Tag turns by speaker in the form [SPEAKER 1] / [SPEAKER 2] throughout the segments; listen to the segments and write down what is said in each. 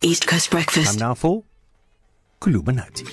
[SPEAKER 1] East Coast
[SPEAKER 2] Time
[SPEAKER 1] Breakfast.
[SPEAKER 2] now for Kulubanati.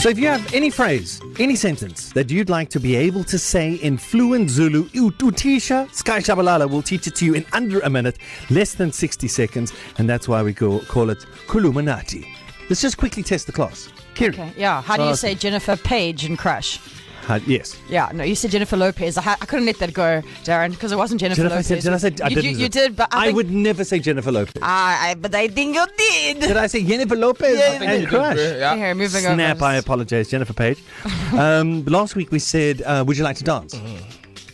[SPEAKER 2] So if you have any phrase, any sentence that you'd like to be able to say in fluent Zulu, Utisha Sky Shabalala will teach it to you in under a minute, less than 60 seconds, and that's why we go, call it Kulumanati. Let's just quickly test the class. Kiri.
[SPEAKER 3] Okay, yeah. How do you
[SPEAKER 2] Oh,
[SPEAKER 3] say Jennifer Page and Crush?
[SPEAKER 2] Uh, yes.
[SPEAKER 3] Yeah, no, you said Jennifer Lopez. I, ha- I couldn't let that go, Darren, because it wasn't Jennifer,
[SPEAKER 2] Jennifer, I
[SPEAKER 3] Lopez.
[SPEAKER 2] said, did I say I
[SPEAKER 3] you,
[SPEAKER 2] didn't?
[SPEAKER 3] You, you did, but I,
[SPEAKER 2] I
[SPEAKER 3] think,
[SPEAKER 2] would never say Jennifer Lopez.
[SPEAKER 3] I, I, but I think you did.
[SPEAKER 2] Did I say Jennifer Lopez
[SPEAKER 3] Yeah, you
[SPEAKER 2] and
[SPEAKER 3] did.
[SPEAKER 2] Crush?
[SPEAKER 4] Yeah.
[SPEAKER 3] Here, moving on.
[SPEAKER 2] Snap, I apologize, Jennifer Page. Um, last week we said, uh, Would you like to dance?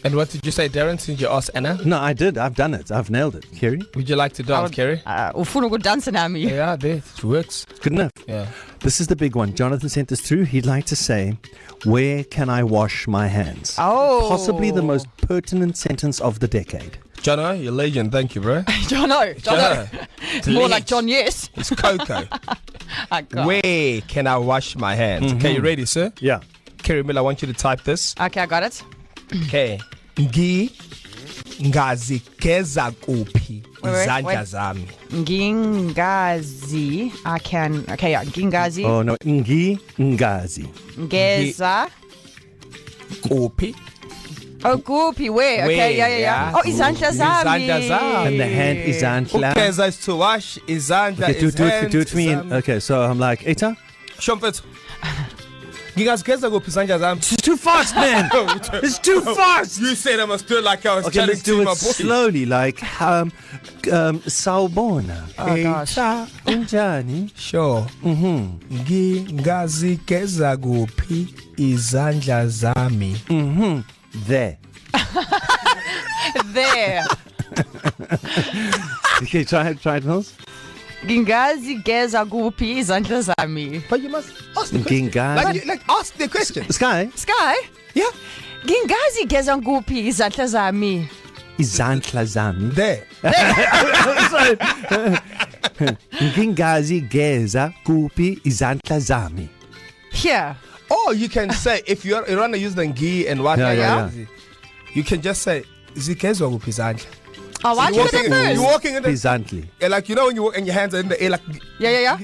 [SPEAKER 4] And what did you say, Darren? Since you asked Anna,
[SPEAKER 2] No, I did. I've done it. I've nailed it. Kerry?
[SPEAKER 4] would you like to dance,
[SPEAKER 3] would-
[SPEAKER 4] Kerry?
[SPEAKER 3] Uh, ufuna good dancing at me.
[SPEAKER 4] Yeah, I did. It works.
[SPEAKER 2] Good enough.
[SPEAKER 4] Yeah.
[SPEAKER 2] This is the big one. Jonathan sent us through. He'd like to say, Where can I wash my hands?
[SPEAKER 3] Oh.
[SPEAKER 2] Possibly the most pertinent sentence of the decade.
[SPEAKER 4] Jono, you're legend. Thank you, bro.
[SPEAKER 3] Jono, Jono.
[SPEAKER 4] It's
[SPEAKER 3] More
[SPEAKER 4] legend.
[SPEAKER 3] like John Yes.
[SPEAKER 4] It's Coco.
[SPEAKER 3] Oh, God.
[SPEAKER 4] Where can I wash my hands? Okay, you ready, sir?
[SPEAKER 2] Yeah.
[SPEAKER 4] Kerry Miller, I want you to type this.
[SPEAKER 3] Okay, I got it.
[SPEAKER 4] Okay. Ngi ngazigeza kuphi
[SPEAKER 3] Wait, wait,
[SPEAKER 4] izandla
[SPEAKER 3] wait.
[SPEAKER 4] zami?
[SPEAKER 3] Gingazi. I can. Okay, yeah. Gingazi.
[SPEAKER 2] Oh, no. Ngi Ngazi.
[SPEAKER 3] Ngeza.
[SPEAKER 4] Kuphi
[SPEAKER 3] Oh, Goopy. Where?
[SPEAKER 4] Where,
[SPEAKER 3] Okay, yeah, yeah, yeah.
[SPEAKER 4] yeah.
[SPEAKER 3] Oh, Isandla Zami.
[SPEAKER 4] Izandla zami.
[SPEAKER 2] And the hand is antla.
[SPEAKER 4] ugeza is to wash izandla
[SPEAKER 2] Okay, do,
[SPEAKER 4] is
[SPEAKER 2] do, it,
[SPEAKER 4] hands
[SPEAKER 2] do it for me.
[SPEAKER 4] zami.
[SPEAKER 2] In, okay, so I'm like, Eta?
[SPEAKER 4] Shomfethu, ngingazigeza kuphi izandla zami?
[SPEAKER 2] It's too fast, man! it's too fast!
[SPEAKER 4] You said I must do it like I was
[SPEAKER 2] Okay, let's do
[SPEAKER 4] challenging my boy.
[SPEAKER 2] it slowly, like um, um, Saubona.
[SPEAKER 3] Oh, gosh.
[SPEAKER 4] Eita,
[SPEAKER 2] Unjani?
[SPEAKER 4] Sure. Mm-hmm. Ngingazigeza kuphi izandla zami?
[SPEAKER 2] There.
[SPEAKER 3] There.
[SPEAKER 2] Okay, try it, try it, Mills.
[SPEAKER 3] Gingazi Geza Goopy Isandla Zami.
[SPEAKER 4] But you must ask the question. Like,
[SPEAKER 2] Gingazi.
[SPEAKER 4] you- like ask the question.
[SPEAKER 2] Sky
[SPEAKER 3] Sky?
[SPEAKER 4] Yeah.
[SPEAKER 3] Gingazi Geza Goopy Isandla Zami.
[SPEAKER 2] izandla zami.
[SPEAKER 4] There.
[SPEAKER 2] Ngingazi geza kuphi izandla zami.
[SPEAKER 3] Here.
[SPEAKER 4] Or you can say if you're you wanna use the ngi and what
[SPEAKER 2] Yeah, yeah,
[SPEAKER 4] you can just say zigezwa kuphi izandla.
[SPEAKER 3] Oh, why
[SPEAKER 4] You're
[SPEAKER 3] do you
[SPEAKER 4] walking,
[SPEAKER 3] that
[SPEAKER 4] you're
[SPEAKER 3] first?
[SPEAKER 4] walking in the
[SPEAKER 2] Izandli.
[SPEAKER 4] yeah, like you know when you walk and your hands are in the air like
[SPEAKER 3] Yeah, yeah, yeah.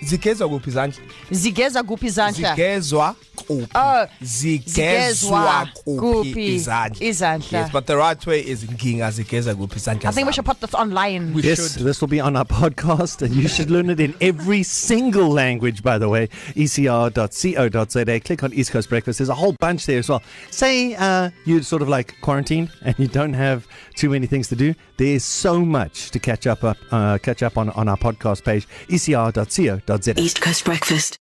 [SPEAKER 4] zigezwa kuphi izandla.
[SPEAKER 3] Zigeza Goopy Isandla.
[SPEAKER 4] Zigezwa kuphi.
[SPEAKER 3] Oh,
[SPEAKER 4] zigezwa
[SPEAKER 3] kuphi
[SPEAKER 4] kuphi izandla.
[SPEAKER 3] izandla.
[SPEAKER 4] Yes, but the right way is ngingazigeza kuphi izandla.
[SPEAKER 3] I think we should put this online.
[SPEAKER 4] We
[SPEAKER 2] Yes,
[SPEAKER 4] should.
[SPEAKER 2] this will be on our podcast, and you should learn it in every single language, by the way. E ecr.co.za. Click on East Coast Breakfast. There's a whole bunch there as well. Say uh, you're sort of like quarantined and you don't have too many things to do. There's so much to catch up, up uh, catch up on on our podcast page, ecr.co.za.
[SPEAKER 1] East Coast Breakfast.